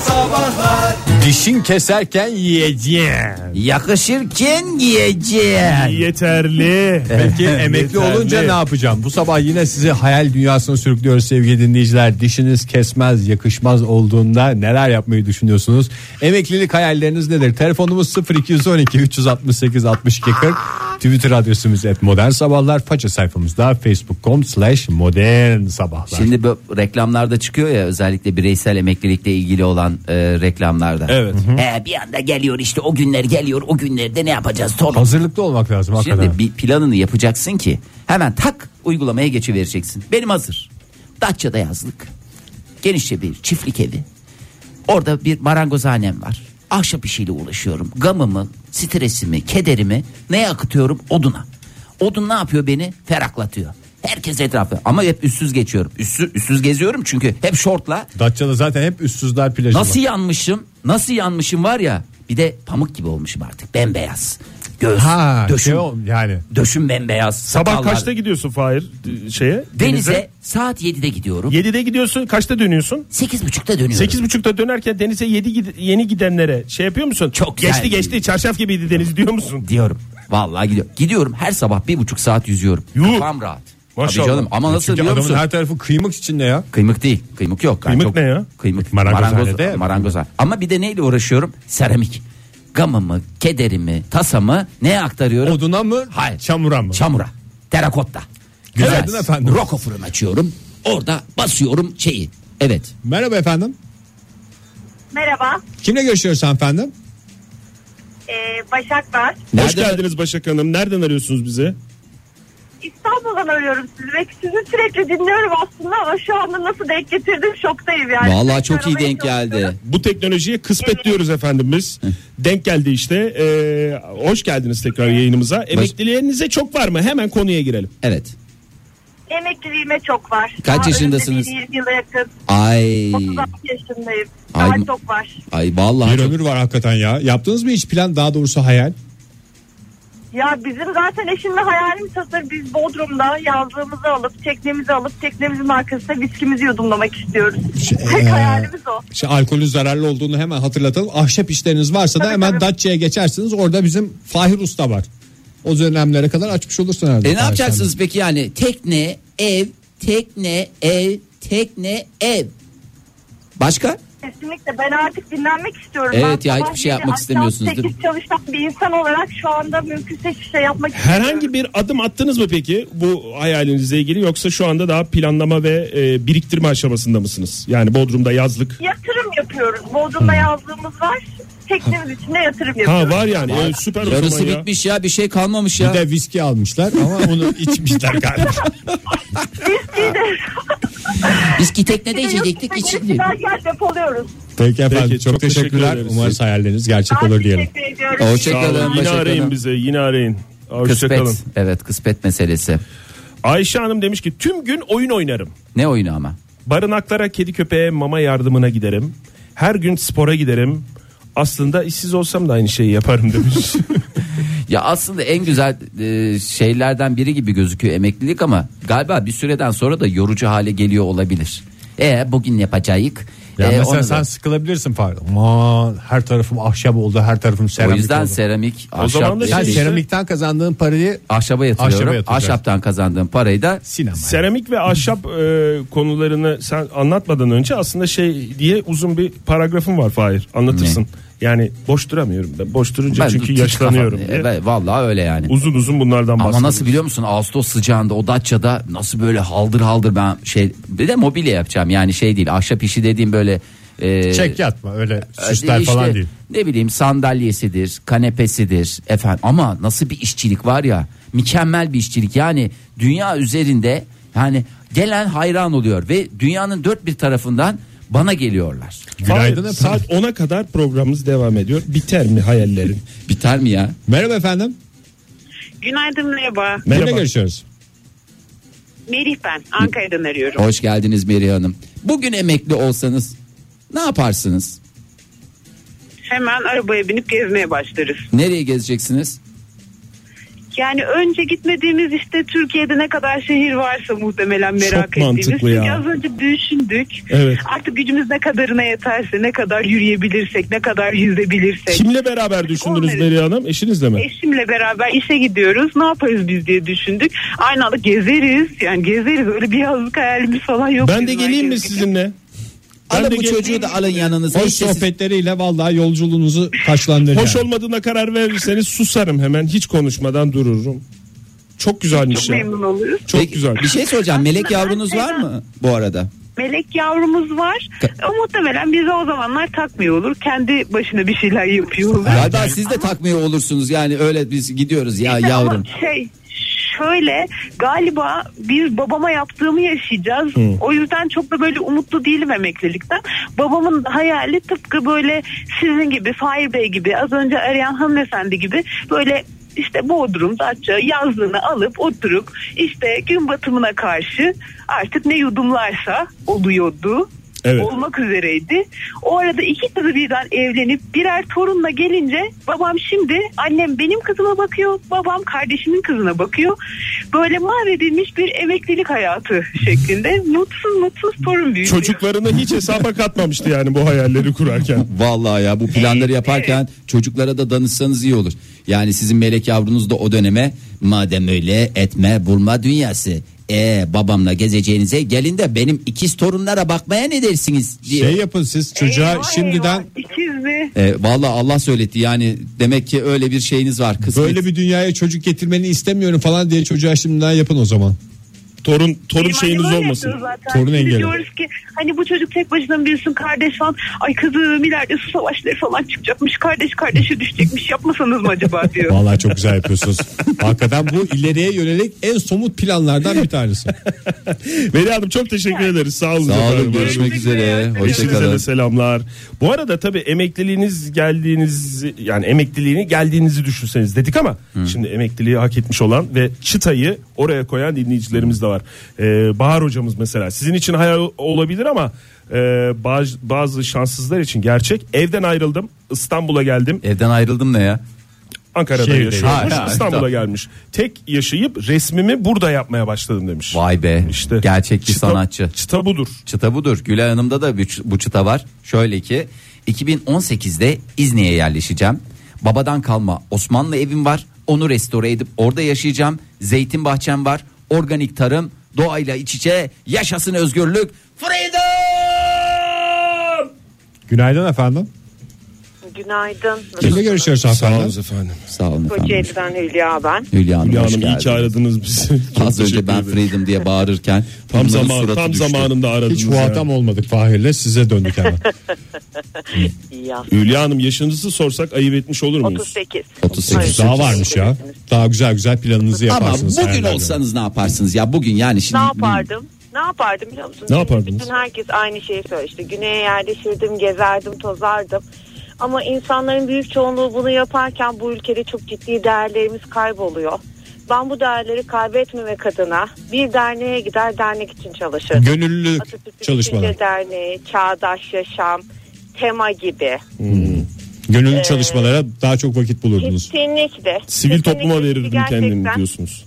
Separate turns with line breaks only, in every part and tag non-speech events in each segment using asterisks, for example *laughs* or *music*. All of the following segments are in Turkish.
sabahlar
Dişin keserken yiyeceğim.
Yakışırken yiyeceğim.
Yeterli.
*laughs* Peki emekli
Yeterli.
olunca ne yapacağım? Bu sabah yine sizi hayal dünyasına sürüklüyoruz sevgili dinleyiciler. Dişiniz kesmez, yakışmaz olduğunda neler yapmayı düşünüyorsunuz? Emeklilik hayalleriniz nedir? Telefonumuz 0212 368 62 40. Twitter adresimiz et modern sabahlar. Faça sayfamızda facebook.com slash modern sabahlar.
Şimdi bu reklamlarda çıkıyor ya özellikle bireysel emeklilikle ilgili olan e, reklamlarda.
Evet.
He, bir anda geliyor işte o günler geliyor o günlerde ne yapacağız sonra.
Hazırlıklı olmak lazım hakikaten.
Şimdi bir planını yapacaksın ki hemen tak uygulamaya geçivereceksin. Benim hazır. Datça'da yazlık. Genişçe bir çiftlik evi. Orada bir marangozhanem var. Ahşap işiyle uğraşıyorum. Gamımı, stresimi, kederimi neye akıtıyorum? Oduna. Odun ne yapıyor beni? Ferahlatıyor. Herkes etrafı ama hep üstsüz geçiyorum. Üstsüz, üstsüz geziyorum çünkü hep şortla.
Datça'da zaten hep üstsüzler plajı
Nasıl
var.
yanmışım? Nasıl yanmışım var ya. Bir de pamuk gibi olmuşum artık. Bembeyaz. Göz,
Ha,
döşüm,
şey ol- yani.
döşüm bembeyaz.
Sabah
sakallar.
kaçta gidiyorsun Fahir e, şeye?
Denize saat 7'de gidiyorum.
7'de gidiyorsun kaçta dönüyorsun?
8.30'da dönüyorum.
8.30'da dönerken denize yedi gid- yeni gidenlere şey yapıyor musun?
Çok güzel.
geçti geçti çarşaf gibiydi deniz diyor musun?
diyorum. Vallahi gidiyorum. Gidiyorum her sabah bir buçuk saat yüzüyorum.
Yuh.
Kafam rahat.
Maşallah.
Tabii canım ama nasıl
E Çünkü
biliyor
adamın
musun?
her tarafı kıymık içinde ya.
Kıymık değil. Kıymık yok. Yani
Kıymık ne ya?
Kıymık.
Marangozhanede
Marangoz,
yap-
marangoz. Ama bir de neyle uğraşıyorum? Seramik. Gamımı, kederimi, tasamı neye aktarıyorum?
Oduna mı?
Hayır.
Çamura mı?
Çamura. Terakotta.
Günaydın efendim.
Roko fırın açıyorum. Orada basıyorum şeyi. Evet.
Merhaba efendim.
Merhaba,
Kimle görüşüyoruz hanımefendi?
ee, Başak ben.
Hoş
Nereden-
geldiniz Başak Hanım. Nereden arıyorsunuz bizi?
İstanbul'dan arıyorum sizi ve sizi sürekli dinliyorum aslında ama şu anda nasıl denk getirdim şoktayım yani.
Vallahi çok iyi
Aramaya
denk
çalışıyorum.
geldi.
Bu teknolojiye kısmet diyoruz efendim biz. Denk geldi işte. Ee, hoş geldiniz tekrar yayınımıza. Emeklilerinize çok var mı? Hemen konuya girelim.
Evet.
Emekliliğime çok var.
Kaç
Daha
yaşındasınız?
önümde bir 20 yıla yakın.
Ay.
36 yaşındayım.
Ay.
Daha çok var.
Ay vallahi
Bir
çok- E,
ömür var hakikaten ya. Yaptınız mı hiç plan daha doğrusu hayal?
Ya bizim zaten eşimle hayalimiz hazır. Biz Bodrum'da yazlığımızı alıp, teknemizi alıp, teknemizin arkasında viskimizi yudumlamak istiyoruz. Tek
Ee,
hayalimiz o.
İşte alkolün zararlı olduğunu hemen hatırlatalım. Ahşap işleriniz varsa da
Tabii,
hemen
tabii.
Datça'ya geçersiniz. Orada bizim Fahir Usta var. O dönemlere kadar açmış olursun herhalde.
E ne
Fahir
yapacaksınız peki yani tekne, ev, tekne, ev, tekne, ev. Başka?
Kesinlikle ben artık dinlenmek istiyorum.
Evet
ben
ya,
sabah
hiçbir şey
yedi,
yapmak
akşam
istemiyorsunuz, değil mi?
sekiz çalışan bir insan olarak şu anda mümkünse hiçbir şey yapmak
Herhangi bir adım attınız mı peki bu hayalinizle ilgili yoksa şu anda daha planlama ve e, biriktirme aşamasında mısınız? Yani Bodrum'da yazlık.
Yatırım yapıyoruz. Bodrum'da yazlığımız var. Teknemiz içinde yatırım
Ha
yapıyoruz.
var yani. Ee, süper o
Yarısı
zaman ya.
bitmiş ya bir şey kalmamış
Usta.
ya.
Bir de viski almışlar ama *laughs* onu içmişler galiba.
*laughs* Biz ki teknede içecektik içildi.
içinde. Yer depoluyoruz.
Peki efendim
Peki,
çok,
çok teşekkür
teşekkürler.
ederiz.
Umarız hayalleriniz gerçek olur diyelim.
Ben teşekkür ediyorum.
Sağ olun.
Hoşçakalın.
Yine arayın
hoşçakalın.
bizi yine arayın. Hoşçakalın.
Kıspet. Evet kıspet meselesi.
Ayşe Hanım demiş ki tüm gün oyun oynarım.
Ne oyunu ama?
Barınaklara kedi köpeğe mama yardımına giderim. Her gün spora giderim. Aslında işsiz olsam da aynı şeyi yaparım *laughs* demiş.
Ya aslında en güzel e, şeylerden biri gibi gözüküyor emeklilik ama galiba bir süreden sonra da yorucu hale geliyor olabilir. E bugün yapacağız.
Ya
E, onu
mesela
da-
sen sıkılabilirsin Fahir. Aman her tarafım ahşap oldu, her tarafım
o
seramik
yüzden
oldu.
seramik,
O zaman
ahşap,
Sen
da şey-
yani
işte-
seramikten kazandığın parayı
ahşaba
Ahşaba
yatırıyorum.
yatıracaksın.
Ahşaptan kazandığım parayı da
sinemaya.
Seramik ve ahşap e, konularını sen anlatmadan önce aslında şey diye uzun bir paragrafım var Fahir. Anlatırsın. Yani boş duramıyorum da. Boş durunca
Ben
çünkü
titriş
yaşlanıyorum
kafam-
diye.
Evet, vallahi öyle yani.
Uzun uzun bunlardan bahsediyorum.
Ama nasıl biliyor musun Ağustos sıcağında o Datça'da nasıl böyle haldır haldır ben şey bir de mobilya yapacağım yani şey değil ahşap işi dediğim böyle e,
Çek yatma öyle
e,
süsler
işte,
falan değil.
Ne bileyim sandalyesidir, kanepesidir efendim ama nasıl bir işçilik var ya mükemmel bir işçilik yani dünya üzerinde yani gelen hayran oluyor ve dünyanın dört bir tarafından bana geliyorlar.
Fahir,
Günaydın efendim.
saat 10'a kadar programımız devam ediyor. Biter mi *laughs* hayallerin?
Biter mi ya?
Merhaba efendim.
Günaydın merhaba.
Merhaba.
Kimle görüşüyoruz?
Merih ben. Ankara'dan arıyorum.
Hoş geldiniz Meri Hanım. Bugün emekli olsanız ne yaparsınız?
Hemen arabaya binip gezmeye başlarız.
Nereye gezeceksiniz?
Yani önce gitmediğimiz işte Türkiye'de ne kadar şehir varsa muhtemelen merak
Çok
ettiğimiz.
mantıklı
Çünkü
ya.
az önce düşündük.
Evet.
Artık gücümüz ne kadarına yeterse, ne kadar yürüyebilirsek, ne kadar yüzebilirsek.
Kimle beraber düşündünüz
Olmadı.
Beri Hanım? Eşinizle mi?
Eşimle beraber işe gidiyoruz. Ne yaparız biz diye düşündük. Aynı anda gezeriz. Yani gezeriz. Öyle bir yazlık hayalimiz falan yok.
Ben de
bizim
geleyim mi
herkes gibi.
sizinle? Ben
Alın
de
bu
gel-
çocuğu da alın yanınıza.
Hoş
Hiç de siz-
sohbetleriyle vallahi yolculuğunuzu taşlandıracak.
Hoş olmadığına karar verirseniz susarım hemen. Hiç konuşmadan dururum. Çok güzelmiş
Çok
ya.
memnun oluruz.
Çok
Peki,
güzel.
Bir şey soracağım. Melek yavrunuz var mı bu arada?
Melek yavrumuz var. O muhtemelen bizi o zamanlar takmıyor olur. Kendi başına bir şeyler yapıyor olur.
Galiba siz de takmıyor olursunuz yani öyle biz gidiyoruz ya
İşte ama
yavrum.
Şey şöyle galiba biz babama yaptığımı yaşayacağız. O yüzden çok da böyle umutlu değilim emeklilikten. Babamın hayali tıpkı böyle sizin gibi Fahir Bey gibi az önce arayan hanımefendi gibi böyle işte Bodrum, Datça yazlığını alıp oturup işte gün batımına karşı artık ne yudumlarsa oluyordu.
Evet.
Olmak üzereydi. O arada iki kızı birden evlenip birer torunla gelince babam şimdi annem benim kızıma bakıyor, babam kardeşimin kızına bakıyor. Böyle mahvedilmiş bir emeklilik hayatı şeklinde mutsuz mutsuz torun büyütüyor.
Çocuklarını hiç hesaba katmamıştı yani bu hayalleri kurarken.
Vallahi ya bu planları yaparken çocuklara da danışsanız iyi olur. Yani sizin melek yavrunuz da o döneme madem öyle etme bulma dünyası. E babamla gezeceğinize gelin de benim ikiz torunlara bakmaya ne dersiniz diye.
Şey yapın siz çocuğa
Eyvah,
şimdiden
eyvah, ikiz mi?
E, Valla Allah söyletti yani demek ki öyle bir şeyiniz var. Kısmet.
şey
böyle bir dünyaya çocuk getirmeni istemiyorum falan diye çocuğa şimdiden yapın o zaman.
Torun torun
Benim
şeyiniz
annem öyle
olmasın.
yapıyor zaten.
Torun
Biz
engeli.
Diyoruz ki hani bu çocuk tek başına mı büyüsün kardeş falan. Ay kızım ileride su savaşları falan çıkacakmış. Kardeş kardeşe düşecekmiş. Yapmasanız mı acaba diyor.
Vallahi çok güzel *laughs* yapıyorsunuz. Hakikaten bu ileriye yönelik en somut planlardan bir tanesi.
Veri Hanım çok teşekkür ederiz. Sağ olun.
Sağ
efendim.
olun görüşmek üzere.
Eşinize de
Hoşçakalın.
selamlar. Bu arada tabii emekliliğiniz geldiğiniz yani emekliliğini geldiğinizi düşünseniz dedik ama şimdi emekliliği hak etmiş olan ve çıtayı oraya koyan dinleyicilerimiz de var. Ee, Bahar hocamız mesela sizin için hayal olabilir ama e, bazı, bazı şanssızlar için gerçek. Evden ayrıldım İstanbul'a geldim
Evden ayrıldım ne ya?
Ankara'da
Şehirde.
yaşıyormuş
Ha, ha,
İstanbul'a
tamam.
gelmiş. Tek yaşayıp resmimi burada yapmaya başladım demiş.
Vay be.
İşte
Gerçek bir
çıta-
sanatçı.
Çıta budur.
Çıta budur. Gülay Hanım'da da bir, bu çıta var. Şöyle ki 2018'de İzni'ye yerleşeceğim. Babadan kalma Osmanlı evim var. Onu restore edip orada yaşayacağım. Zeytin bahçem var. Organik tarım. Doğayla iç içe. Yaşasın özgürlük. Freedom!
Günaydın efendim.
Günaydın.
Kimle görüşüyoruz hanımefendi?
efendim.
Sağ olun efendim.
Kocaeli'den Hülya ben.
Hülya Hanım,
Hülya
hoş
Hanım iyi
geldiniz.
ki aradınız
*laughs*
bizi. Çok
Az önce
teşekkür
ben
ederim.
freedom diye bağırırken
tam
Hülya Hanım'ın
zaman
suratı
tam
düştü.
zamanında aradınız.
Hiç
ya.
muhatap olmadık Fahir'le size döndük *laughs* hemen.
İyi yaz.
Hülya Hanım yaşınızı sorsak ayıp etmiş olur muyuz?
38.
38.
Daha varmış ya. Daha güzel güzel planınızı
Ama
yaparsınız.
bugün
hayallerde.
olsanız ne yaparsınız ya bugün yani
Ne
şimdi
yapardım? Ne yapardım biliyor musun?
Ne yapardınız?
Bütün herkes aynı şeyi söyleşti. Güneye yerleşirdim, gezerdim, tozardım. Ama insanların büyük çoğunluğu bunu yaparken bu ülkede çok ciddi değerlerimiz kayboluyor. Ben bu değerleri kaybetmemek adına bir derneğe gider dernek için çalışırdım.
Gönüllülük
Atatürk'ün
çalışmalar.
Düşünce Derneği, Çağdaş Yaşam, Tema gibi.
Gönüllü çalışmalara daha çok vakit bulurdunuz.
Kesinlikle.
Sivil
Kesinlikle
topluma verirdim
gerçekten.
kendimi diyorsunuz.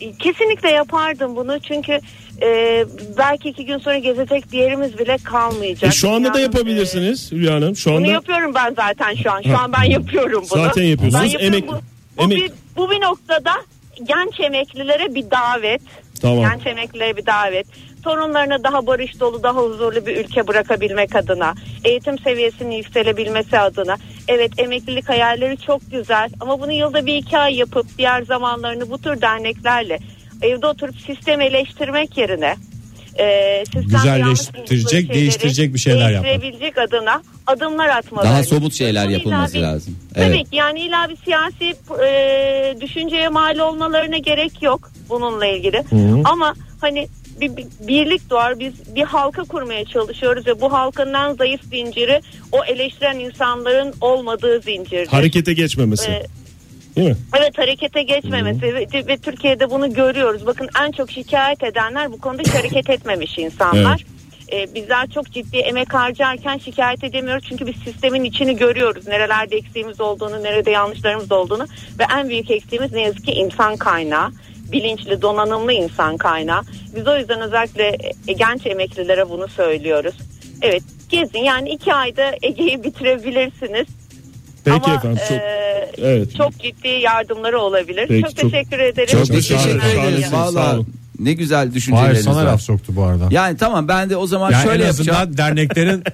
E,
Kesinlikle yapardım bunu çünkü e, belki iki gün sonra gezecek bir yerimiz bile kalmayacak.
E, şu anda da
Yani,
yapabilirsiniz Hülya Hanım. Şu
e, bunu
anda
yapıyorum ben zaten şu an. Şu an ben yapıyorum bunu.
Zaten yapıyorsunuz.
Ben yapıyorum.
Emek-
bu, bu,
emek-
Bir, bu bir noktada genç emeklilere bir davet.
Tamam.
Genç emeklilere bir davet. Torunlarına daha barış dolu, daha huzurlu bir ülke bırakabilmek adına, eğitim seviyesinin yükselebilmesi adına. Evet emeklilik hayalleri çok güzel ama bunu yılda bir iki ay yapıp diğer zamanlarını bu tür derneklerle evde oturup sistem eleştirmek yerine e, sistemde yanlış
Güzelleştirecek,
yapılan şeyleri
değiştirecek bir şeyler yapmak.
değiştirebilecek adına adımlar atmaları.
Daha somut şeyler
Bunun
yapılması
illa bir-
lazım.
Tabii
Evet.
ki yani illa bir siyasi e, düşünceye mal olmalarına gerek yok bununla ilgili. Ama hani bir, bir birlik doğar biz bir halka kurmaya çalışıyoruz ve bu halkanın en zayıf zinciri o eleştiren insanların olmadığı zincirdir.
harekete geçmemesi.
E,
Değil mi?
Evet harekete geçmemesi ve, ve Türkiye'de bunu görüyoruz. Bakın en çok şikayet edenler bu konuda hiç hareket etmemiş insanlar. e, bizler çok ciddi emek harcarken şikayet edemiyoruz. Çünkü biz sistemin içini görüyoruz. Nerelerde eksiğimiz olduğunu, nerede yanlışlarımız olduğunu ve en büyük eksiğimiz ne yazık ki insan kaynağı bilinçli, donanımlı insan kaynağı. Biz o yüzden özellikle e, genç emeklilere bunu söylüyoruz. Evet, gezin. Yani iki ayda Ege'yi bitirebilirsiniz.
Peki
Ama
efendim çok
e,
evet.
çok ciddi yardımları olabilir.
Peki,
çok,
çok-
teşekkür ederim.
çok
Biz
Sağ olun,
teşekkür
sağ olun,
ederiz.
sağ olun.
Valla ne güzel
Hayır
düşünceleriniz
sana
var.
laf soktu bu arada.
Yani tamam ben de o zaman
Yani
şöyle
en azından
yapacağım. *laughs*
derneklerin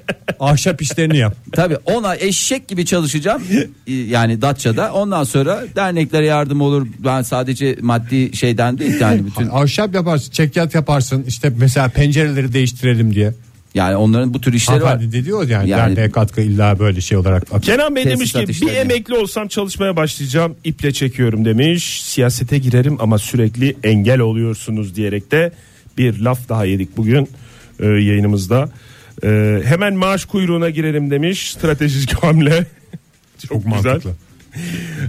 ahşap işlerini yap.
Tabii ona eşek
*laughs*
gibi çalışacağım. Ee, Yani Datça'da. Ondan sonra derneklere yardım olur. Ben sadece maddi şeyden değil yani bütün
Ahşap yaparsın, çekyat yaparsın. İşte mesela pencereleri değiştirelim diye.
yani onların bu tür işleri var.
Hanımefendi de diyor yani,
Yani-
derneğe katkı illa böyle şey olarak.
Kenan Bey demiş
Tesisat
ki bir
işleri."
emekli olsam çalışmaya başlayacağım iple çekiyorum demiş. Siyasete girerim ama sürekli engel oluyorsunuz diyerek de bir laf daha yedik bugün e, yayınımızda. E, hemen maaş kuyruğuna girerim demiş stratejik *laughs* hamle. Çok,
mantıklı.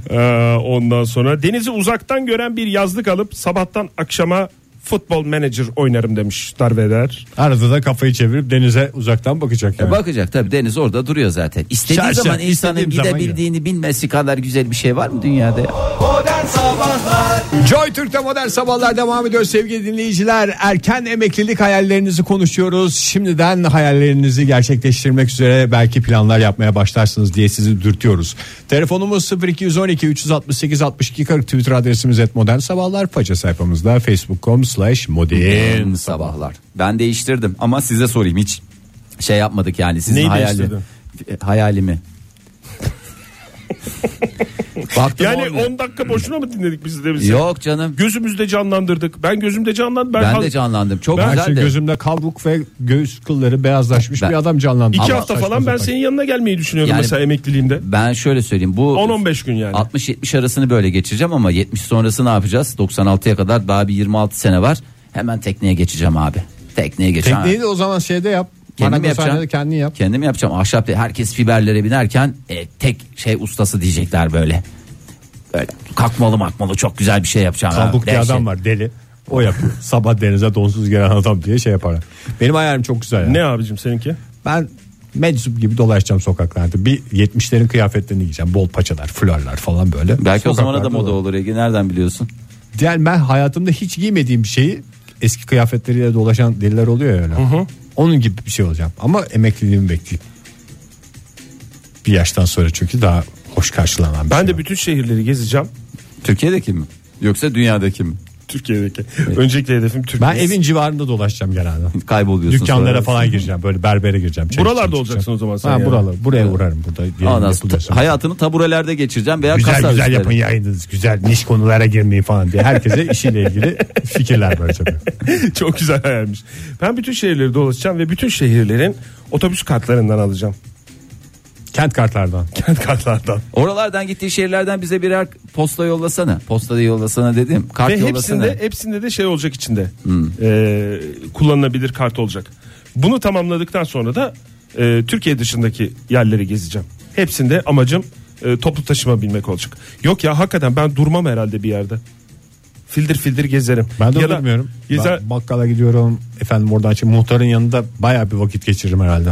E, ondan sonra denizi uzaktan gören bir yazlık alıp sabahtan akşama futbol manager oynarım demiş Darveder.
Arada da kafayı çevirip denize uzaktan bakacak. Yani.
Bakacak tabii deniz orada duruyor zaten. İstediği
Şarşaf,
zaman insanın
istediğim zaman
gidebildiğini bilmesi kadar güzel bir şey var mı dünyada ya?
Joy Türk'te modern sabahlar devam ediyor sevgili dinleyiciler. Erken emeklilik hayallerinizi konuşuyoruz. Şimdiden hayallerinizi gerçekleştirmek üzere belki planlar yapmaya başlarsınız diye sizi dürtüyoruz. Telefonumuz 0212 368 62 40 Twitter adresimiz et modern sabahlar. Faça sayfamızda facebook.com slash modern.
sabahlar. Ben değiştirdim ama size sorayım hiç şey yapmadık yani sizin
Neyi
hayali,
değiştirdin?
e, hayalimi. Baktım
Yani
olmuyor.
10 dakika boşuna mı dinledik bizi de biz?
Yok canım.
Gözümüzde canlandırdık. Ben gözümde canlandım.
Ben,
haz-
de canlandım. Çok
Ben
güzel
şimdi
de.
şey gözümde kavruk ve göğüs kılları beyazlaşmış
Ben-
bir adam canlandı.
İki
Ama
hafta
saçma
falan ben
sapan.
senin yanına gelmeyi düşünüyorum
Yani-
mesela emekliliğimde.
Ben şöyle söyleyeyim. Bu
10-15 gün yani.
60-70 arasını böyle geçireceğim ama 70 sonrası ne yapacağız? 96'ya kadar daha bir 26 sene var. Hemen tekneye geçeceğim abi. Tekneye geçeceğim.
Tekneyi de o zaman şeyde yap.
Kendim
Marangoz
yapacağım.
sahnede kendin yap.
Kendim yapacağım. Ahşap herkes fiberlere binerken e, tek şey ustası diyecekler böyle. Böyle kalkmalı makmalı çok güzel bir şey yapacağım. ha.
Kabuk bir
Dehşet.
adam var deli. O
*laughs*
yapıyor. Sabah denize donsuz gelen adam diye şey yapar. Benim hayalim çok güzel. ya.
Ne abicim seninki?
Ben meczup gibi dolaşacağım sokaklarda. Bir 70'lerin kıyafetlerini giyeceğim. Bol paçalar, flörler falan böyle.
Belki o zamana da
Sokaklarda
moda
dolan-
olur Ege. Nereden biliyorsun?
Yani ben hayatımda hiç giymediğim bir şeyi eski kıyafetleriyle dolaşan deliler oluyor ya öyle. Onun gibi bir şey olacağım. Ama emekliliğimi bekleyeyim. Bir yaştan sonra çünkü daha hoş karşılanan bir
Ben
şey
de
var.
bütün şehirleri gezeceğim.
Türkiye'deki mi? Yoksa dünyadaki mi?
Türkiye'deki. Öncelikle hedefim Türkiye.
ben evin civarında dolaşacağım genelde.
Kayboluyorsun.
Dükkanlara
sonra.
falan gireceğim böyle berbere gireceğim. Çay
Buralarda
içeceğim,
olacaksın
çıkacağım.
o zaman sen
Ha,
yani.
buralar, buraya uğrarım burada. yayın
Ondan sonra
yapılıyorsa.
hayatını taburelerde geçireceğim veya
Güzel
kasa
güzel
üstleri.
yapın yayınınız güzel niş konulara girmeyin falan diye herkese işiyle ilgili fikirler verecek.
*laughs* Çok güzel hayalmiş. Ben bütün şehirleri dolaşacağım ve bütün şehirlerin otobüs kartlarından alacağım. *laughs*
Kent kartlardan.
Kent kartlardan.
Oralardan gittiği şehirlerden bize birer posta yollasana. Postada yollasana dedim. Kart
ve
yollasana.
hepsinde hepsinde de şey olacak içinde. Ee, kullanılabilir kart olacak. Bunu tamamladıktan sonra da e, Türkiye dışındaki yerleri gezeceğim. Hepsinde amacım e, toplu taşıma binmek olacak. Yok ya hakikaten ben durmam herhalde bir yerde. Fildir fildir gezerim.
Ben de
ya da
bilmiyorum.
gezer-
Ben bakkala gidiyorum efendim oradan şimdi muhtarın yanında baya bir vakit geçiririm herhalde.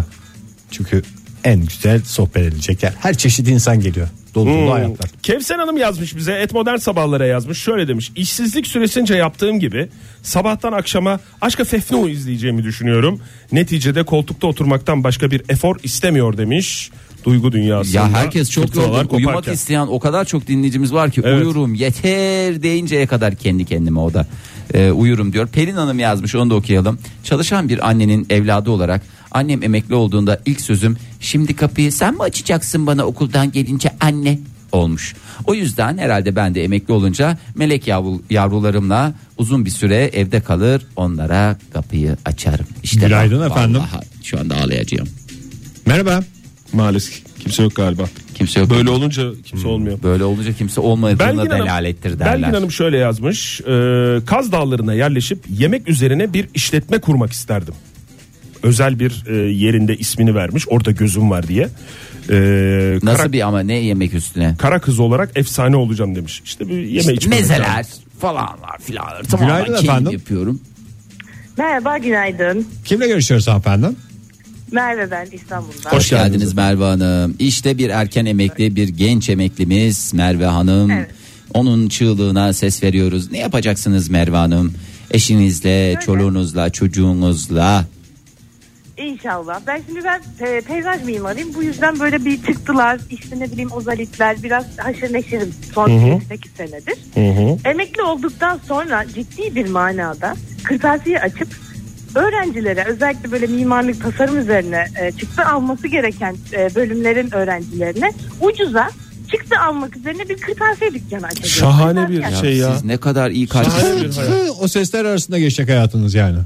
Çünkü en güzel sohbet edilecek yer. Her çeşit insan geliyor. Dolu
Hmm.
dolu hayatlar.
Kevser Hanım yazmış bize et modern sabahlara yazmış şöyle demiş işsizlik süresince yaptığım gibi sabahtan akşama aşka fefnu izleyeceğimi düşünüyorum neticede koltukta oturmaktan başka bir efor istemiyor demiş duygu dünyasında
Ya herkes çok
fırtınalar
yorgun.
koparken.
Uyumak isteyen o kadar çok dinleyicimiz var ki
Evet.
uyurum yeter deyinceye kadar kendi kendime o da e, uyurum diyor. Pelin Hanım yazmış onu da okuyalım. Çalışan bir annenin evladı olarak annem emekli olduğunda ilk sözüm şimdi kapıyı sen mi açacaksın bana okuldan gelince anne olmuş. O yüzden herhalde ben de emekli olunca melek yavru, yavrularımla uzun bir süre evde kalır onlara kapıyı açarım. İşte bak,
Günaydın efendim.
vallahi Şu anda ağlayacağım.
Merhaba.
maalesef kimse yok galiba
Kimse yok.
böyle olunca kimse olmuyor
Böyle olunca kimse olmadığına delalettir derler.
Belgin Hanım şöyle yazmış e, Kaz Dağları'na yerleşip yemek üzerine bir işletme kurmak isterdim. Özel bir e, yerinde ismini vermiş orada gözüm var diye. E,
Nasıl
kara,
bir ama ne yemek üstüne?
kara kız olarak efsane olacağım demiş. İşte bir yeme
İşte
içme mekanı.
mezeler falanlar filanlar. Tamamen
Günaydın
kendim
efendim.
yapıyorum.
Merhaba günaydın.
Kimle görüşüyoruz hanımefendi?
Merve ben İstanbul'dan.
Hoş geldiniz Merve Hanım. İşte bir erken emekli, bir genç emeklimiz Merve Hanım.
Evet.
Onun çığlığına ses veriyoruz. Ne yapacaksınız Merve Hanım? Eşinizle, çoluğunuzla, çocuğunuzla.
İnşallah. Ben şimdi ben e, peyzaj mimarıyım. Bu yüzden böyle bir çıktılar. İşte ne bileyim ozalitler biraz haşır neşirim son 8 senedir. Emekli olduktan sonra ciddi bir manada kırtasiye açıp öğrencilere özellikle böyle mimarlık tasarım üzerine e, çıktı alması gereken e, bölümlerin öğrencilerine ucuza çıktı almak üzerine bir kırtasiye dükkanı açacak.
Şahane bir
Kırtasiye
şey ya.
Siz ne kadar iyi
Şahane
kardeşsiniz.
bir hayat.
o sesler arasında geçecek hayatınız yani.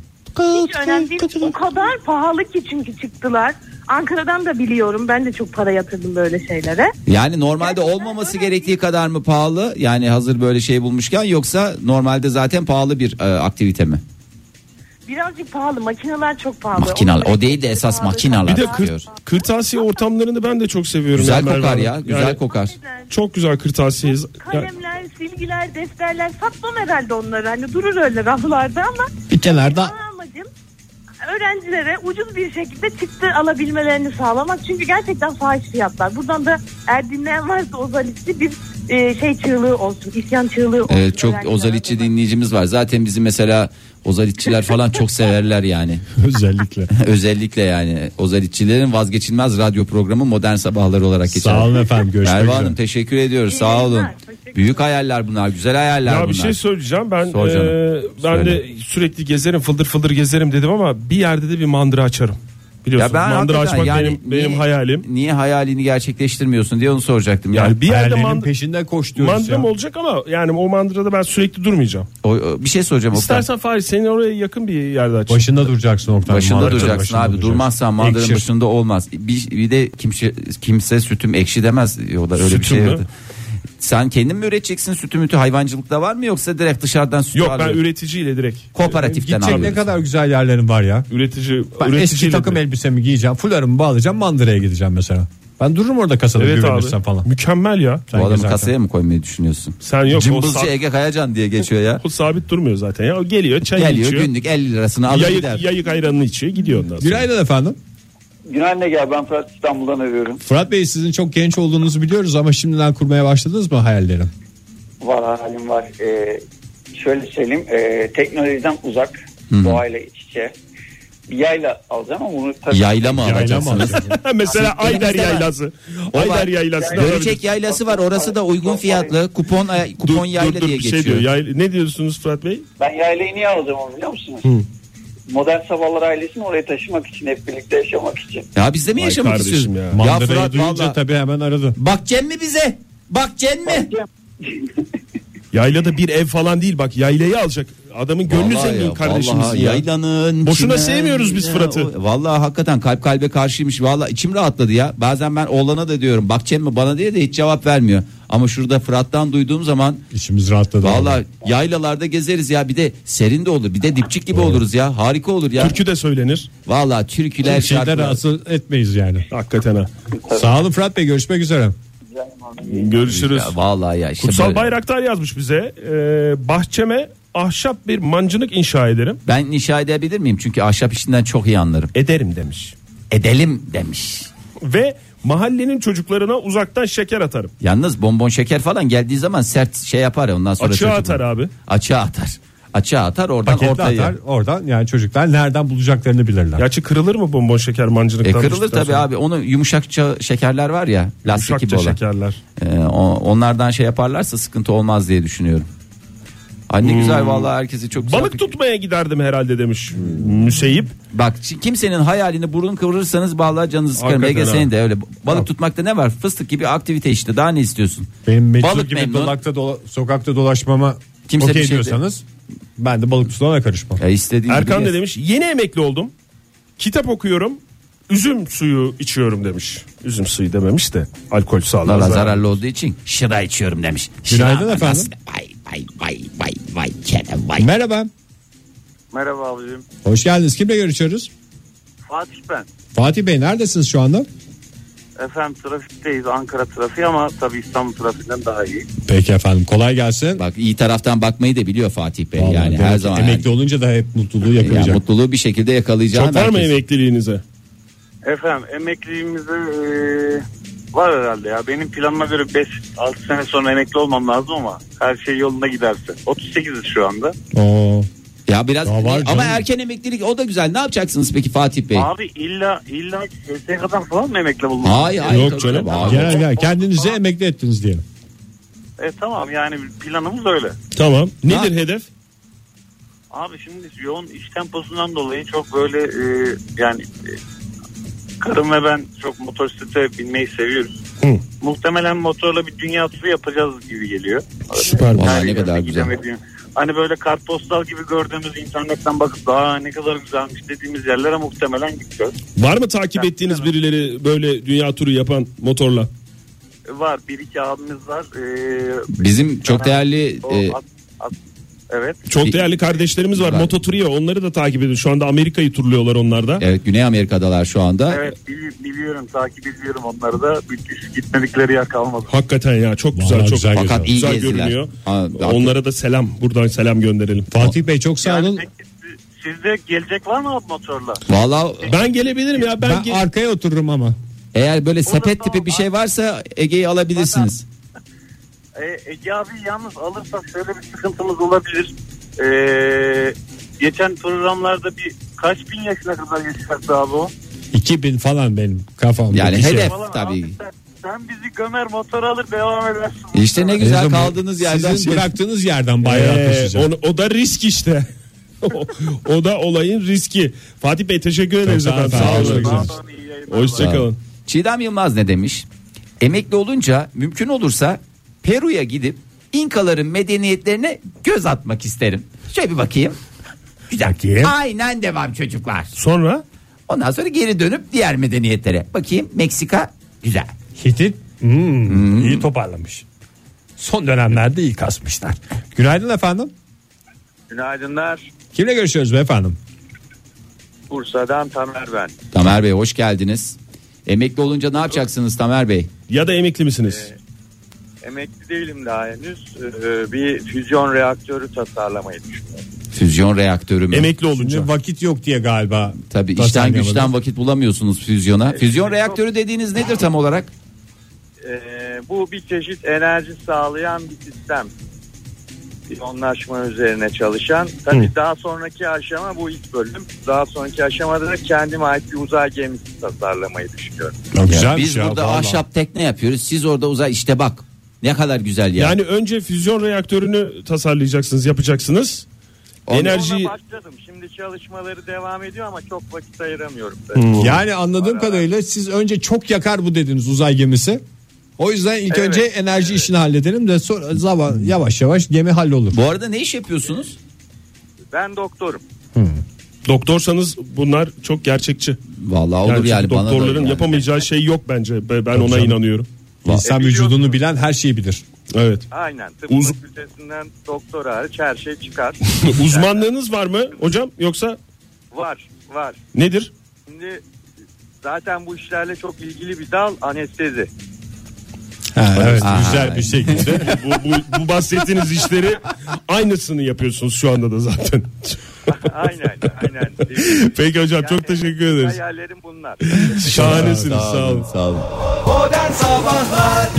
Hiç önemli değil. O kadar pahalı ki çünkü çıktılar. Ankara'dan da biliyorum. Ben de çok para yatırdım böyle şeylere.
Yani normalde olmaması gerektiği kadar mı pahalı? Yani hazır böyle şey bulmuşken yoksa normalde zaten pahalı bir e, aktivite mi?
Birazcık pahalı. Makineler çok pahalı.
Makinalar.
Onlar
O değil de esas
pahalı.
makinalar.
Bir de
diyor.
kır, kırtasiye ortamlarını ben de çok seviyorum.
Güzel
Merve
kokar
Hanım.
ya. Güzel
Yani
kokar.
Çok güzel kırtasiye. Yani
Kalemler, silgiler, defterler satmam herhalde onları. Hani durur öyle raflarda ama
Bir kenarda
ana amacım öğrencilere ucuz bir şekilde çıktı alabilmelerini sağlamak. Çünkü gerçekten fahiş fiyatlar. Buradan da eğer dinleyen varsa ozalitçi bir e, şey çığlığı olsun. isyan çığlığı olsun.
Evet, çok
öğrencilere
ozalitçi
adına.
dinleyicimiz var. Zaten bizi mesela ozalitçiler falan çok severler yani. *laughs*
*laughs* özellikle.
Özellikle yani ozalitçilerin vazgeçilmez radyo programı Modern Sabahlar olarak geçer.
Sağ olun efendim görüşmek
Merve
üzere.
Hanım teşekkür ediyoruz. Sağ olun.
yayınlar, teşekkür
Büyük hayaller bunlar. Güzel hayaller
Ya
bunlar.
bir şey söyleyeceğim ben
Sor
e,
canım.
ben de
Söyle.
sürekli gezerim fıldır fıldır gezerim dedim ama bir yerde de bir mandıra açarım. Biliyorsun mandıra
hakikaten
açmak
yani
benim
niye-
benim hayalim.
Niye hayalini gerçekleştirmiyorsun diye onu soracaktım. ya.
Yani bir yerde
Hayallerinin
mandıra
peşinden koş diyoruz
mandıram
ya.
olacak ama yani o mandırada ben sürekli durmayacağım.
O- o- bir şey soracağım. Oktay.
İstersen Fahri senin oraya yakın bir yerde aç.
Başında duracaksın Oktay.
Başında
Mandıra
duracaksın
başında
abi.
duracaksın.
Durmazsan mandıranın
Ekşir.
başında olmaz. Bir, bir de kimse kimse sütüm ekşi demez. O da öyle bir
Sütüm
şey
mü?
yok. Sen kendin mi üreteceksin sütü mütü hayvancılıkta var mı yoksa direkt dışarıdan sütü
Yok ben
alıyorsun?
üreticiyle direkt.
Kooperatiften
Gidecek ne
alıyorsun.
kadar güzel yerlerin var ya.
Üretici
Ben
üreticiyle
eski takım
direkt.
elbisemi giyeceğim. Fularımı bağlayacağım. Mandıraya gideceğim mesela. Ben dururum orada kasada
Evet
güvenirsen
abi.
falan.
Mükemmel ya.
Bu
Sen
adamı
gezerken.
kasaya mı koymayı düşünüyorsun?
Sen yok o,
Cımbızcı
sa-
Ege Kayacan diye
*laughs*
geçiyor ya.
o sabit durmuyor zaten ya. O geliyor çay
Geliyor
içiyor.
günlük 50 lirasını alır
Yayık,
gider.
yayık ayranını içiyor gidiyor ondan sonra.
Günaydın efendim.
Günaydın Ege ben Fırat İstanbul'dan arıyorum.
Fırat Bey sizin çok genç olduğunuzu biliyoruz ama şimdiden kurmaya başladınız mı hayalleri?
Var halim var. Ee, şöyle söyleyeyim ee, teknolojiden uzak doğayla iç içe. Bir yayla alacağım ama bunu tabii
Yayla mı alacaksınız?
*laughs* Mesela
Aslında
Ayder
denizde var.
yaylası.
O var.
Ayder yaylası. da
Görecek yaylası var orası da uygun fiyatlı. Kupon ay- kupon yayla diye
bir şey
geçiyor.
diyor. Yayla- ne diyorsunuz Fırat Bey?
ben yaylayı niye alacağım onu biliyor musunuz? Modern sabahlar ailesini oraya taşımak için hep birlikte yaşamak için.
Ya biz de mi
Vay
yaşamak
kardeşim
istiyoruz?
ya.
Ya,
Mandırayı
Fırat
duyunca
valla.
tabii hemen aradı.
Bakacaksın mı bize? Bakacaksın mı?
Yaylada bir ev falan değil bak yaylayı alacak. Adamın gönlü
Vallahi
zengin
ya,
kardeşimizin
vallahi
ya.
Yaylanın
Boşuna
çimen-
sevmiyoruz biz
ya,
Fırat'ı.
o- Vallahi hakikaten kalp kalbe karşıymış. Vallahi içim rahatladı ya. Bazen ben oğlana da diyorum bakçem mi bana diye de hiç cevap vermiyor. Ama şurada Fırat'tan duyduğum zaman
İçimiz rahatladı.
vallahi yaylalarda gezeriz ya. Bir de serin de olur. Bir de dipçik gibi oluruz ya. Harika olur ya.
Türkü de söylenir.
Vallahi türküler
Şeyde
şarkılar.
rahatsız etmeyiz yani.
Hakikaten ha.
Sağ olun Fırat Bey görüşmek üzere.
Görüşürüz.
Ya vallahi ya işte
Kutsal
böyle.
Bayraktar yazmış bize. Ee, bahçeme ahşap bir mancınık inşa ederim.
Ben inşa edebilir miyim? Çünkü ahşap işinden çok iyi anlarım.
Ederim demiş.
Edelim demiş.
Ve mahallenin çocuklarına uzaktan şeker atarım.
Yalnız bonbon şeker falan geldiği zaman sert şey yapar ya ondan sonra
Açığa
çocuklar-
atar abi.
Açığa atar. Açığa atar oradan
Paketli
ortaya.
atar oradan yani çocuklar nereden bulacaklarını bilirler.
Gerçi kırılır mı bonbon şeker
E
mancınıktan?
kırılır
düştükten
tabii
sonra?
abi. Onu yumuşakça şekerler var ya, lastik
Yumuşakça
gibi olan.
şekerler.
E, o- onlardan şey yaparlarsa sıkıntı olmaz diye düşünüyorum. Ay ne güzel vallahi herkesi çok güzel
Hmm. Balık
fikir.
tutmaya giderdim herhalde demiş Müseyip.
Bak şi- kimsenin hayalini burun kıvırırsanız vallahi canınızı sıkarım.
Hakikaten
Ege
ha.
senin de öyle. Balık tutmakta ne var? Fıstık gibi aktivite işte. Daha ne istiyorsun?
Benim meçhul
Balık
gibi
memnun.
dolakta dola- sokakta dolaşmama
Kimse bir
okey
şey de-
diyorsanız ben de balık tutana karışmam.
Ya E, istediğin
Erkan
gibi
da
yaz.
demiş yeni emekli oldum. Kitap okuyorum. Üzüm suyu içiyorum demiş. Üzüm suyu dememiş de alkol sağlar.
Valla
zarar.
zararlı olduğu için şıra içiyorum demiş.
Günaydın
Şıra
efendim.
nasıl- Vay vay vay vay vay kere vay.
Merhaba.
Merhaba abicim.
Hoş geldiniz. Kimle görüşüyoruz?
Fatih ben.
Fatih Bey neredesiniz şu anda?
Efendim trafikteyiz Ankara trafiği ama tabii İstanbul trafiğinden daha iyi.
Peki efendim kolay gelsin.
Bak iyi taraftan bakmayı da biliyor Fatih Bey
Vallahi
yani
demek
her
ki
zaman.
Emekli olunca da hep mutluluğu
yani.
yakalayacak.
Yani mutluluğu bir şekilde yakalayacağını
Çok var mı
herkes-
emekliliğinize?
Efendim emekliliğimizi e, var herhalde ya. Benim planıma göre 5-6 sene sonra emekli olmam lazım ama her şey yolunda giderse. 38'iz şu anda.
Oo.
Ya biraz
Ya var
ama
canım.
erken emeklilik o da güzel. Ne yapacaksınız peki Fatih Bey?
Abi illa illa SSK'dan falan mı emekli bulmak?
Hayır hayır.
Yok
tabii
canım.
tabii. Abi,
Genel genel kendinizi emekli ettiniz diyelim.
E tamam yani planımız öyle.
Tamam. Nedir
Ha.
hedef?
Abi şimdi yoğun iş temposundan dolayı çok böyle e, yani e, karım ve ben çok motosiklete binmeyi seviyoruz.
Hı.
Muhtemelen motorla bir dünya turu yapacağız gibi geliyor.
Süper.
Vallahi
Yani
ne kadar güzel.
gidemediğim- Hani böyle kartpostal gibi gördüğümüz internetten bakıp daha ne kadar güzelmiş dediğimiz yerlere muhtemelen gideceğiz.
Var mı takip ettiğiniz birileri böyle dünya turu yapan motorla?
E, Var bir iki abimiz var. E,
Bizim çok değerli
o
e,
at- at- evet.
Çok
Bir-
değerli kardeşlerimiz var.
Var.
Mototuriye onları da takip ediyor. Şu anda Amerika'yı turluyorlar onlar da.
evet Güney Amerika'dalar şu anda.
Evet bili- biliyorum takip ediyorum onları da Müthiş, gitmedikleri yer kalmadı.
Hakikaten ya çok güzel
Vallahi
çok
güzel
güzel,
Fakat iyi gezdiler.
görünüyor.
Ha,
onlara da selam buradan selam gönderelim.
Fatih Bey çok sağ
Yani
olun.
peki siz- sizde gelecek var mı abi motorla?
Valla
Ben gelebilirim ya ben,
Ben
ge-
arkaya otururum ama.
eğer böyle sepet
da
tipi bir
olmaz.
şey varsa Ege'yi alabilirsiniz.
E, Ege abi yalnız alırsak şöyle bir sıkıntımız olabilir. Ee, geçen programlarda bir kaç bin yaşına kadar yaşayacaktı abi o?
2000 falan benim kafamda.
Yani
bir şey.
hedef
Falan
tabii.
abi sen, sen bizi gömer motor alır devam edersin.
İşte ne
Ne
güzel
zaman-
kaldığınız yerden
Sizin bıraktığınız yerden bayrağı
Ee,
taşıyacağım.
onu- o da risk işte. *laughs* o, o da olayın riski. Fatih Bey teşekkür ederiz
sağ olun,
efendim.
sağ
Sağ
olun.
olun.
Sağ olun.
İyi yayınlar.
Hoşçakalın.
Çiğdem Yılmaz ne demiş? Emekli olunca mümkün olursa Peru'ya gidip İnkaların medeniyetlerine göz atmak isterim. Şöyle bir bakayım. Güzel.
Bakayım.
Aynen devam çocuklar.
Sonra
Ondan sonra geri dönüp diğer medeniyetlere. Bakayım Meksika güzel.
Hitit hmm, iyi toparlamış. Son dönemlerde iyi kasmışlar. Günaydın efendim.
Günaydınlar.
Kimle görüşüyoruz beyefendim?
Bursa'dan Tamer ben.
Tamer Bey hoş geldiniz. Emekli olunca ne yapacaksınız Tamer Bey?
ya da emekli misiniz?
Emekli değilim daha henüz. Ee, bir füzyon reaktörü tasarlamayı düşünüyorum.
Füzyon reaktörü mü?
emekli olunca.
Şimdi vakit yok diye galiba.
Tabii işten
tasarlayamadım.
güçten vakit bulamıyorsunuz füzyona. Füzyon reaktörü dediğiniz nedir tam olarak?
Ee, bu bir çeşit enerji sağlayan bir sistem. İyonlaşma üzerine çalışan. Tabii daha sonraki aşama bu ilk bölüm. Daha sonraki aşamada da kendime ait bir uzay gemisi tasarlamayı düşünüyorum.
Ya güzelmiş
Biz
şey
ya,
burada
vallahi.
ahşap tekne yapıyoruz. Siz orada uzay işte bak. Ne kadar güzel ya.
Yani önce füzyon reaktörünü tasarlayacaksınız, yapacaksınız. Enerjiyi
Ona başladım. Şimdi çalışmaları devam ediyor ama çok vakit ayıramıyorum. tabii.
Yani anladığım kadarıyla siz önce çok yakar bu dediniz uzay gemisi. O yüzden ilk
Evet,
önce enerji işini halledelim de sonra zaman yavaş yavaş gemi hallolur.
Bu arada ne iş yapıyorsunuz?
Ben doktorum.
doktorsanız bunlar çok gerçekçi.
Vallahi olur
Yani
yani,
çünkü
bana da
doktorların
yani.
yapamayacağı şey yok bence. Ben ben ona
canım.
inanıyorum.
İnsan
E,
vücudunu
biliyorsun.
bilen her şeyi bilir.
Evet.
Aynen. Tıp
Uz-
fakültesinden doktora hariç her şey
*laughs*
çıkar.
Uzmanlığınız var mı hocam yoksa
var, var.
nedir?
Şimdi zaten bu işlerle çok ilgili bir dal anestezi.
Ha, evet
Aa.
güzel bir şekilde.
bu, bu, bu bahsettiğiniz işleri aynısını yapıyorsunuz şu anda da zaten.
aynen, aynen.
*laughs* Peki hocam çok teşekkür ederiz.
Hayallerim bunlar.
Şahanesiniz sağ olun.
Sağ olun.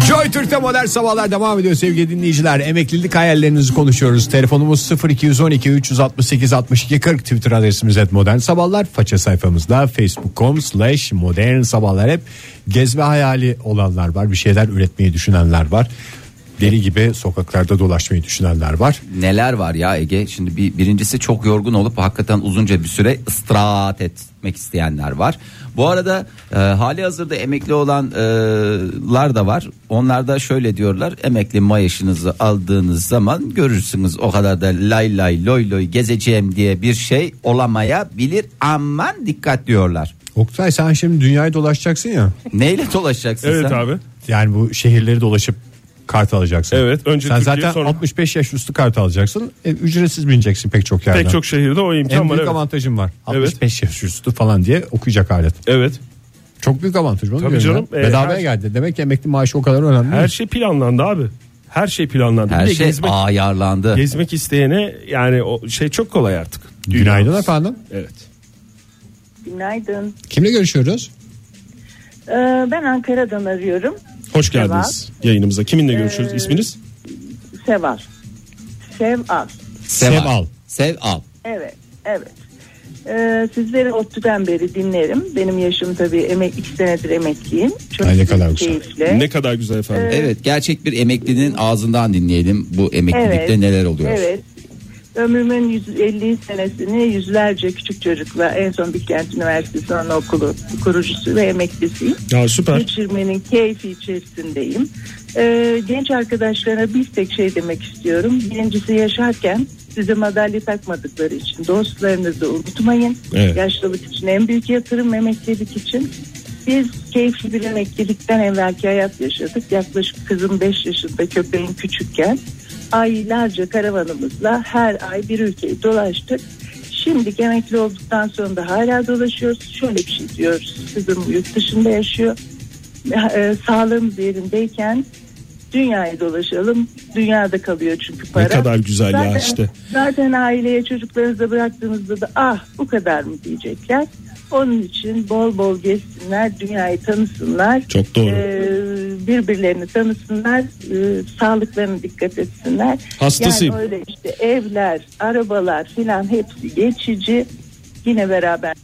Joy Türk'te modern sabahlar devam ediyor sevgili dinleyiciler. Emeklilik hayallerinizi konuşuyoruz. Telefonumuz 0212 368 62 40 Twitter adresimiz et modern sabahlar. Faça sayfamızda facebook.com slash modern sabahlar hep gezme hayali olanlar var. Bir şeyler üretmeyi düşünenler var. Deli gibi sokaklarda dolaşmayı düşünenler var.
Neler var ya Ege? Şimdi bir, birincisi çok yorgun olup hakikaten uzunca bir süre istirahat etmek isteyenler var. Bu arada e, hali hazırda emekli olanlar da var. Onlar da şöyle diyorlar. Emekli maaşınızı aldığınız zaman görürsünüz o kadar da lay lay loy loy gezeceğim diye bir şey olamayabilir. Aman dikkat diyorlar.
Oktay sen şimdi dünyayı dolaşacaksın ya.
Neyle dolaşacaksın
Evet
sen?
abi.
Yani bu şehirleri dolaşıp kart alacaksın.
Evet, önce
Sen
Türkiye,
zaten
sonra-
65 yaş üstü kart alacaksın. E, ücretsiz bineceksin pek çok yerden.
Pek çok şehirde o imkan
En
var.
büyük
Evet.
avantajım var.
Evet.
65 yaş üstü falan diye okuyacak alet.
evet.
Çok çok büyük avantaj. Onu
Tabii
diyorum
canım,
ya.
e,
Bedavaya
her-
geldi. Demek ki emekli maaşı o kadar önemli.
Her şey planlandı abi. Her şey planlandı.
Her
Bir de
şey
gezmek,
ayarlandı.
gezmek isteyene yani o şey çok kolay artık.
Günaydın efendim.
Evet.
Günaydın.
Kimle görüşüyoruz?
Ee, ben Ankara'dan arıyorum.
Hoş geldiniz yayınımıza. Kiminle görüşüyoruz? İsminiz?
Sevar. Sevar.
Seval.
Sev al.
Sev al.
Evet, evet. Ee, sizleri ODTÜ'den beri dinlerim. Benim yaşım tabii emek, iki senedir emekliyim. Çok
Ay ne kadar güzel.
keyifle.
Ne kadar güzel efendim.
Evet gerçek bir emeklinin ağzından dinleyelim bu emeklilikte neler oluyor.
Evet. Ömrümün 150 senesini yüzlerce küçük çocukla en son Bilkent Üniversitesi Anaokulu kurucusu ve emeklisiyim.
Ya süper.
Geçirmenin keyfi içerisindeyim. Ee, genç arkadaşlara bir tek şey demek istiyorum. Birincisi yaşarken size madalya takmadıkları için dostlarınızı unutmayın.
Evet.
Yaşlılık için en büyük yatırım emeklilik için. Biz keyifli bir emeklilikten evvelki hayat yaşadık. Yaklaşık kızım 5 yaşında köpeğim küçükken aylarca karavanımızla her ay bir ülkeyi dolaştık. Şimdi emekli olduktan sonra da hala dolaşıyoruz. Şöyle bir şey diyoruz. Kızım yurt dışında yaşıyor. E, sağlığımız yerindeyken dünyayı dolaşalım. Dünyada kalıyor çünkü para.
Ne kadar güzel ya işte.
Zaten aileye çocuklarınıza bıraktığınızda da ah bu kadar mı diyecekler. Onun için bol bol gezsinler, dünyayı tanısınlar.
Çok doğru.
Ee, birbirlerini tanısınlar, e, sağlıklarına dikkat etsinler.
Hastasıyım.
Yani öyle işte evler, arabalar filan hepsi geçici. Yine beraber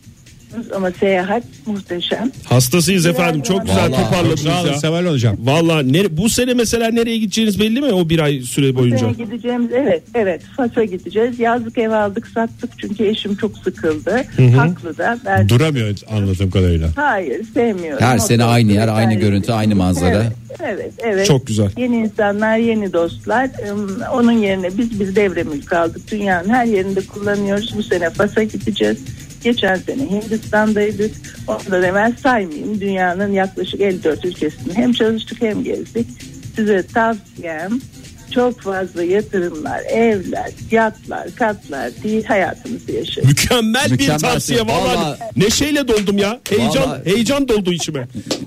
ama seyahat muhteşem.
Hastasıyız efendim. Çok güzel
Vallahi.
toparladınız
Sağ olun
ya.
Seval hocam.
Valla nere- bu sene mesela nereye gideceğiniz belli mi o bir ay süre boyunca?
Fas'a gideceğimiz evet evet Fas'a gideceğiz. Yazlık ev aldık sattık çünkü eşim çok sıkıldı. Haklı da ben
Duramıyor anladığım kadarıyla.
hayır sevmiyorum.
Her
O
sene
da-
aynı yer, aynı
Evet,
görüntü, aynı manzara.
Evet, evet evet.
Çok güzel.
Yeni insanlar yeni dostlar. Im, Onun yerine biz biz devremül kaldık. Dünyanın her yerinde kullanıyoruz. Bu sene Fas'a gideceğiz. Geçen sene Hindistan'daydık. Ondan evvel saymayayım. Dünyanın yaklaşık 54 ülkesini hem çalıştık hem gezdik. Size tavsiyem çok fazla yatırımlar, evler, yatlar, katlar değil hayatımızı yaşayın.
Mükemmel, bir
Mükemmel
tavsiye
şey.
valla.
Vallahi-
Neşeyle doldum ya. Heyecan
Vallahi-
heyecan doldu içime.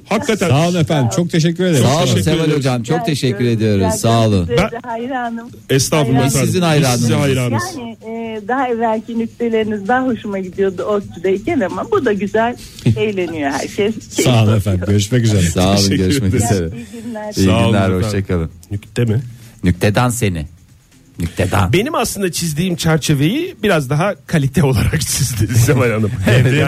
Hakikaten.
Sağ olun efendim. Çok teşekkür ederim.
Sağ olun
teşekkür
Seval
ediyoruz.
hocam çok teşekkür ediyoruz.
Gerçekten
Sağ olun.
size de
Ben-
hayranım.
Estağfurullah
Hayran-
efendim.
Sizin
Biz
hayranınız.
Size hayranız.
Yani e, daha evvelki nükteleriniz daha hoşuma gidiyordu ODTÜ'deyken ama bu da güzel. Eğleniyor herkes.
Sağ olun efendim. Görüşmek üzere.
Sağ olun
Teşekkür
görüşmek
ederiz.
üzere.
İyi günler.
İyi
Sağ olun
günler
efendim.
hoşçakalın.
Nükte mi?
Nüktedan seni. Nüktedan.
Benim aslında çizdiğim çerçeveyi biraz daha kalite *laughs* olarak çizdi
*laughs*
Seval Hanım.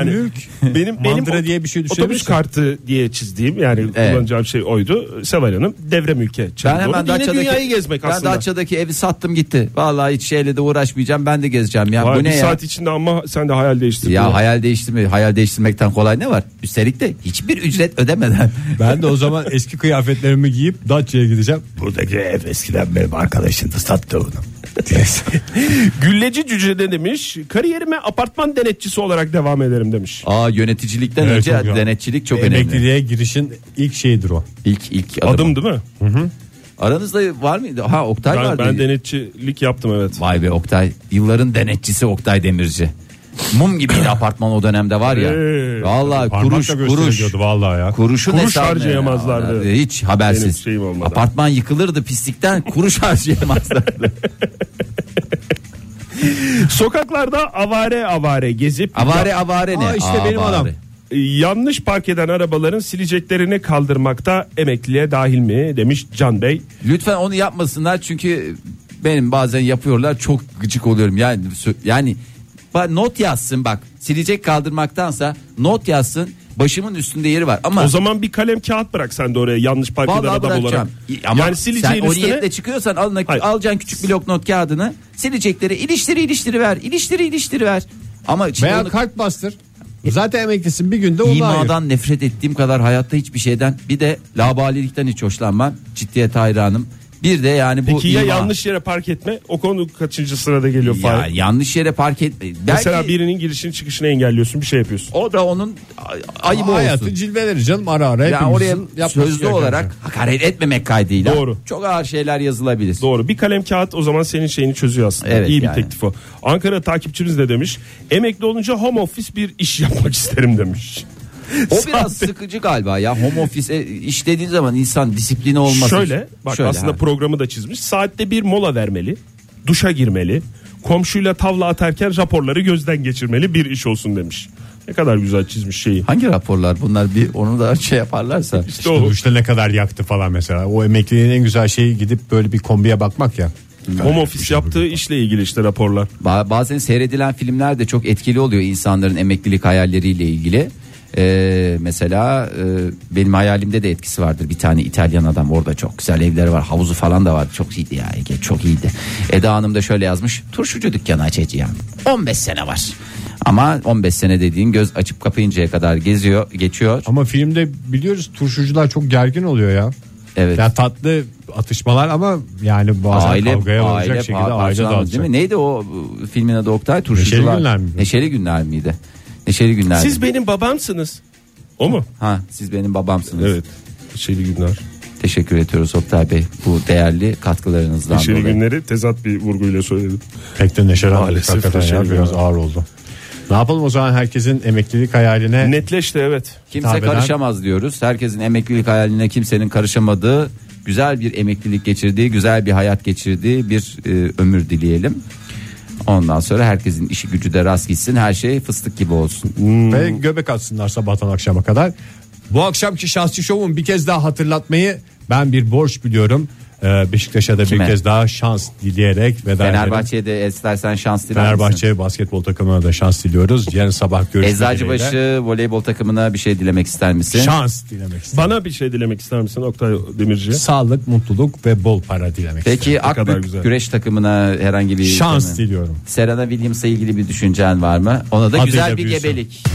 mülk,
benim
mandıra diye bir şey
Otobüs
düşünebilirsin.
kartı diye çizdiğim yani
Evet.
kullanacağım şey oydu. Seval Hanım devre mülke
Ben
çağırdı.
hemen
Yine dünyayı gezmek
ben
aslında.
Datça'daki evi sattım gitti. Vallahi hiç şeyle de uğraşmayacağım. Ben de gezeceğim ya.
Vay,
bu
bir
ne ya?
saat içinde ama sen de hayal değiştirdin.
Ya hayal değiştirme, hayal değiştirmekten kolay ne var? Üstelik de hiçbir ücret ödemeden.
Ben de o
*laughs*
zaman eski kıyafetlerimi giyip Datça'ya gideceğim.
Buradaki ev eskiden benim arkadaşım da sattı onu.
*laughs* Gülleci Cüce de demiş kariyerime apartman denetçisi olarak devam ederim demiş.
Aa yöneticilikten
Evet,
önce
çok güzel.
denetçilik çok önemli.
Emekliliğe girişin ilk şeyidir o.
İlk ilk adım.
Adım değil mi?
Aranızda var mıydı? Ha Oktay
Ben,
vardı.
ben denetçilik yaptım evet.
Vay be Oktay. Yılların denetçisi Oktay Demirci. Mum gibiydi apartman o dönemde var ya.
Ee,
Vallahi kuruş
Parmakla
kuruş.
gösteriliyordu vallahi ya.
Kuruşun
Kuruş
hesabını-
harcayamazlardı.
Hiç
Benim
habersiz.
şeyim olmadan.
Apartman yıkılırdı pislikten kuruş *laughs* harcayamazlardı.
Sokaklarda avare avare gezip
avare avare ne?
Aa, işte benim
avare.
adam.
yanlış park eden arabaların sileceklerini kaldırmakta emekliliğe dahil mi demiş Can Bey.
Lütfen onu yapmasınlar çünkü benim bazen yapıyorlar çok gıcık oluyorum. Yani sö- yani ba- not yazsın bak. Silecek kaldırmaktansa not yazsın. Başımın üstünde yeri var ama
O zaman bir kalem kağıt bırak sen de oraya yanlış park eden
Vallahi
adam olarak.
bırakacağım. Ama
yani sileceğin
sen o
üstüne
niyetle çıkıyorsan alına,
Hayır.
alacaksın küçük blok not kağıdını. Silecekleri iliştiri iliştiri ver. iliştiri iliştiri ver. Ama işte
Veya
onu-
kart bastır. Zaten emeklisin bir günde onu ayır.
İmadan nefret ettiğim kadar hayatta hiçbir şeyden bir de labalilikten hiç hoşlanmam. Ciddiyet hayranım. Bir de yani bu
Peki ya
ima-
yanlış yere park etme? O konu kaçıncı sırada geliyor
ya,
Fahir?
yanlış yere park etme. Belki
Mesela birinin girişini çıkışını engelliyorsun bir şey yapıyorsun.
o da onun ay- ayıbı
Hayatı
olsun.
cilveleri canım ara ara.
Ya
hepimizin
oraya
yapması
sözlü
gereken
olarak
şey.
hakaret etmemek kaydıyla
Doğru.
çok ağır şeyler yazılabilir.
Doğru bir kalem kağıt o zaman senin şeyini çözüyor aslında.
Evet,
İyi bir
yani.
teklif o. Ankara takipçimiz de demiş. Emekli olunca home office bir iş yapmak *laughs* isterim demiş.
O biraz sıkıcı galiba ya. Home office e, iş dediğin zaman insan disiplini olmaz.
Şöyle bak aslında
ha.
programı da çizmiş. Saatte bir mola vermeli. Duşa girmeli. Komşuyla tavla atarken raporları gözden geçirmeli bir iş olsun demiş. Ne kadar güzel çizmiş şeyi.
Hangi raporlar bunlar bir onu da şey yaparlarsa.
İşte
İşte
o
duşta ne kadar yaktı falan mesela. O emekliliğin en güzel şeyi gidip böyle bir kombiye bakmak ya.
home
şey
office yaptığı işle ilgili işte raporlar.
Ba- Bazen seyredilen filmler de çok etkili oluyor insanların emeklilik hayalleriyle ilgili. Ee, mesela e, benim hayalimde de etkisi vardır bir tane İtalyan adam orada çok güzel evleri var havuzu falan da var çok iyiydi ya Ege çok iyiydi Eda Hanım da şöyle yazmış turşucu dükkanı açacağım 15 sene var ama 15 sene dediğin göz açıp kapayıncaya kadar geziyor geçiyor
Ama filmde biliyoruz turşucular çok gergin oluyor ya.
Evet.
Ya tatlı atışmalar ama yani bazen kavgaya varacak şekilde
par-
aile
parçalandı
dağıtacak.
değil mi? Neydi o e, filmin adı Oktay? Turşucular.
Günler miydi?
Neşeli Günler miydi? Neşeli Günler.
Siz benim babamsınız. O mu?
Ha siz benim babamsınız.
Evet. Şeyli günler.
Teşekkür ediyoruz Oktay Bey bu değerli katkılarınızdan
Şeyli
dolayı.
günleri tezat bir vurguyla söyledim.
Pek de neşelendik
Maalesef
hakikaten ya
neşelendik.
biraz ağır oldu. Ne yapalım o zaman herkesin emeklilik hayaline
Netleşti evet.
Kimse
Hitap eden-
karışamaz diyoruz. Herkesin emeklilik hayaline kimsenin karışamadığı güzel bir emeklilik geçirdiği, güzel bir hayat geçirdiği bir e, ömür dileyelim. Ondan sonra herkesin işi gücü de rast gitsin. Her şey fıstık gibi olsun.
ve göbek atsınlar sabahtan akşama kadar. Bu akşamki şahsi şovun bir kez daha hatırlatmayı ben bir borç biliyorum. Ee, Beşiktaş'a da
Kime?
bir kez daha şans dileyerek veda edelim.
Fenerbahçe'ye de istersen şans diler misin?
Fenerbahçe basketbol takımına da şans diliyoruz. Yarın sabah görüşmek dileğiyle.
Eczacıbaşı voleybol takımına bir şey dilemek ister misin?
Şans dilemek istedim.
Bana bir şey dilemek ister misin Oktay Demirci?
Sağlık, mutluluk ve bol para dilemek isterim.
Peki
kadar
Akbük
güzel.
güreş takımına herhangi bir
Şans
Tabii.
diliyorum.
Serena Williams'la ilgili bir düşüncen var mı? Ona da
Adıyla
güzel bir
büyüsün.
gebelik.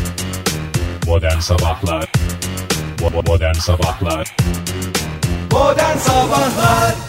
Modern Sabahlar Bo- Modern Sabahlar
Modern Sabahlar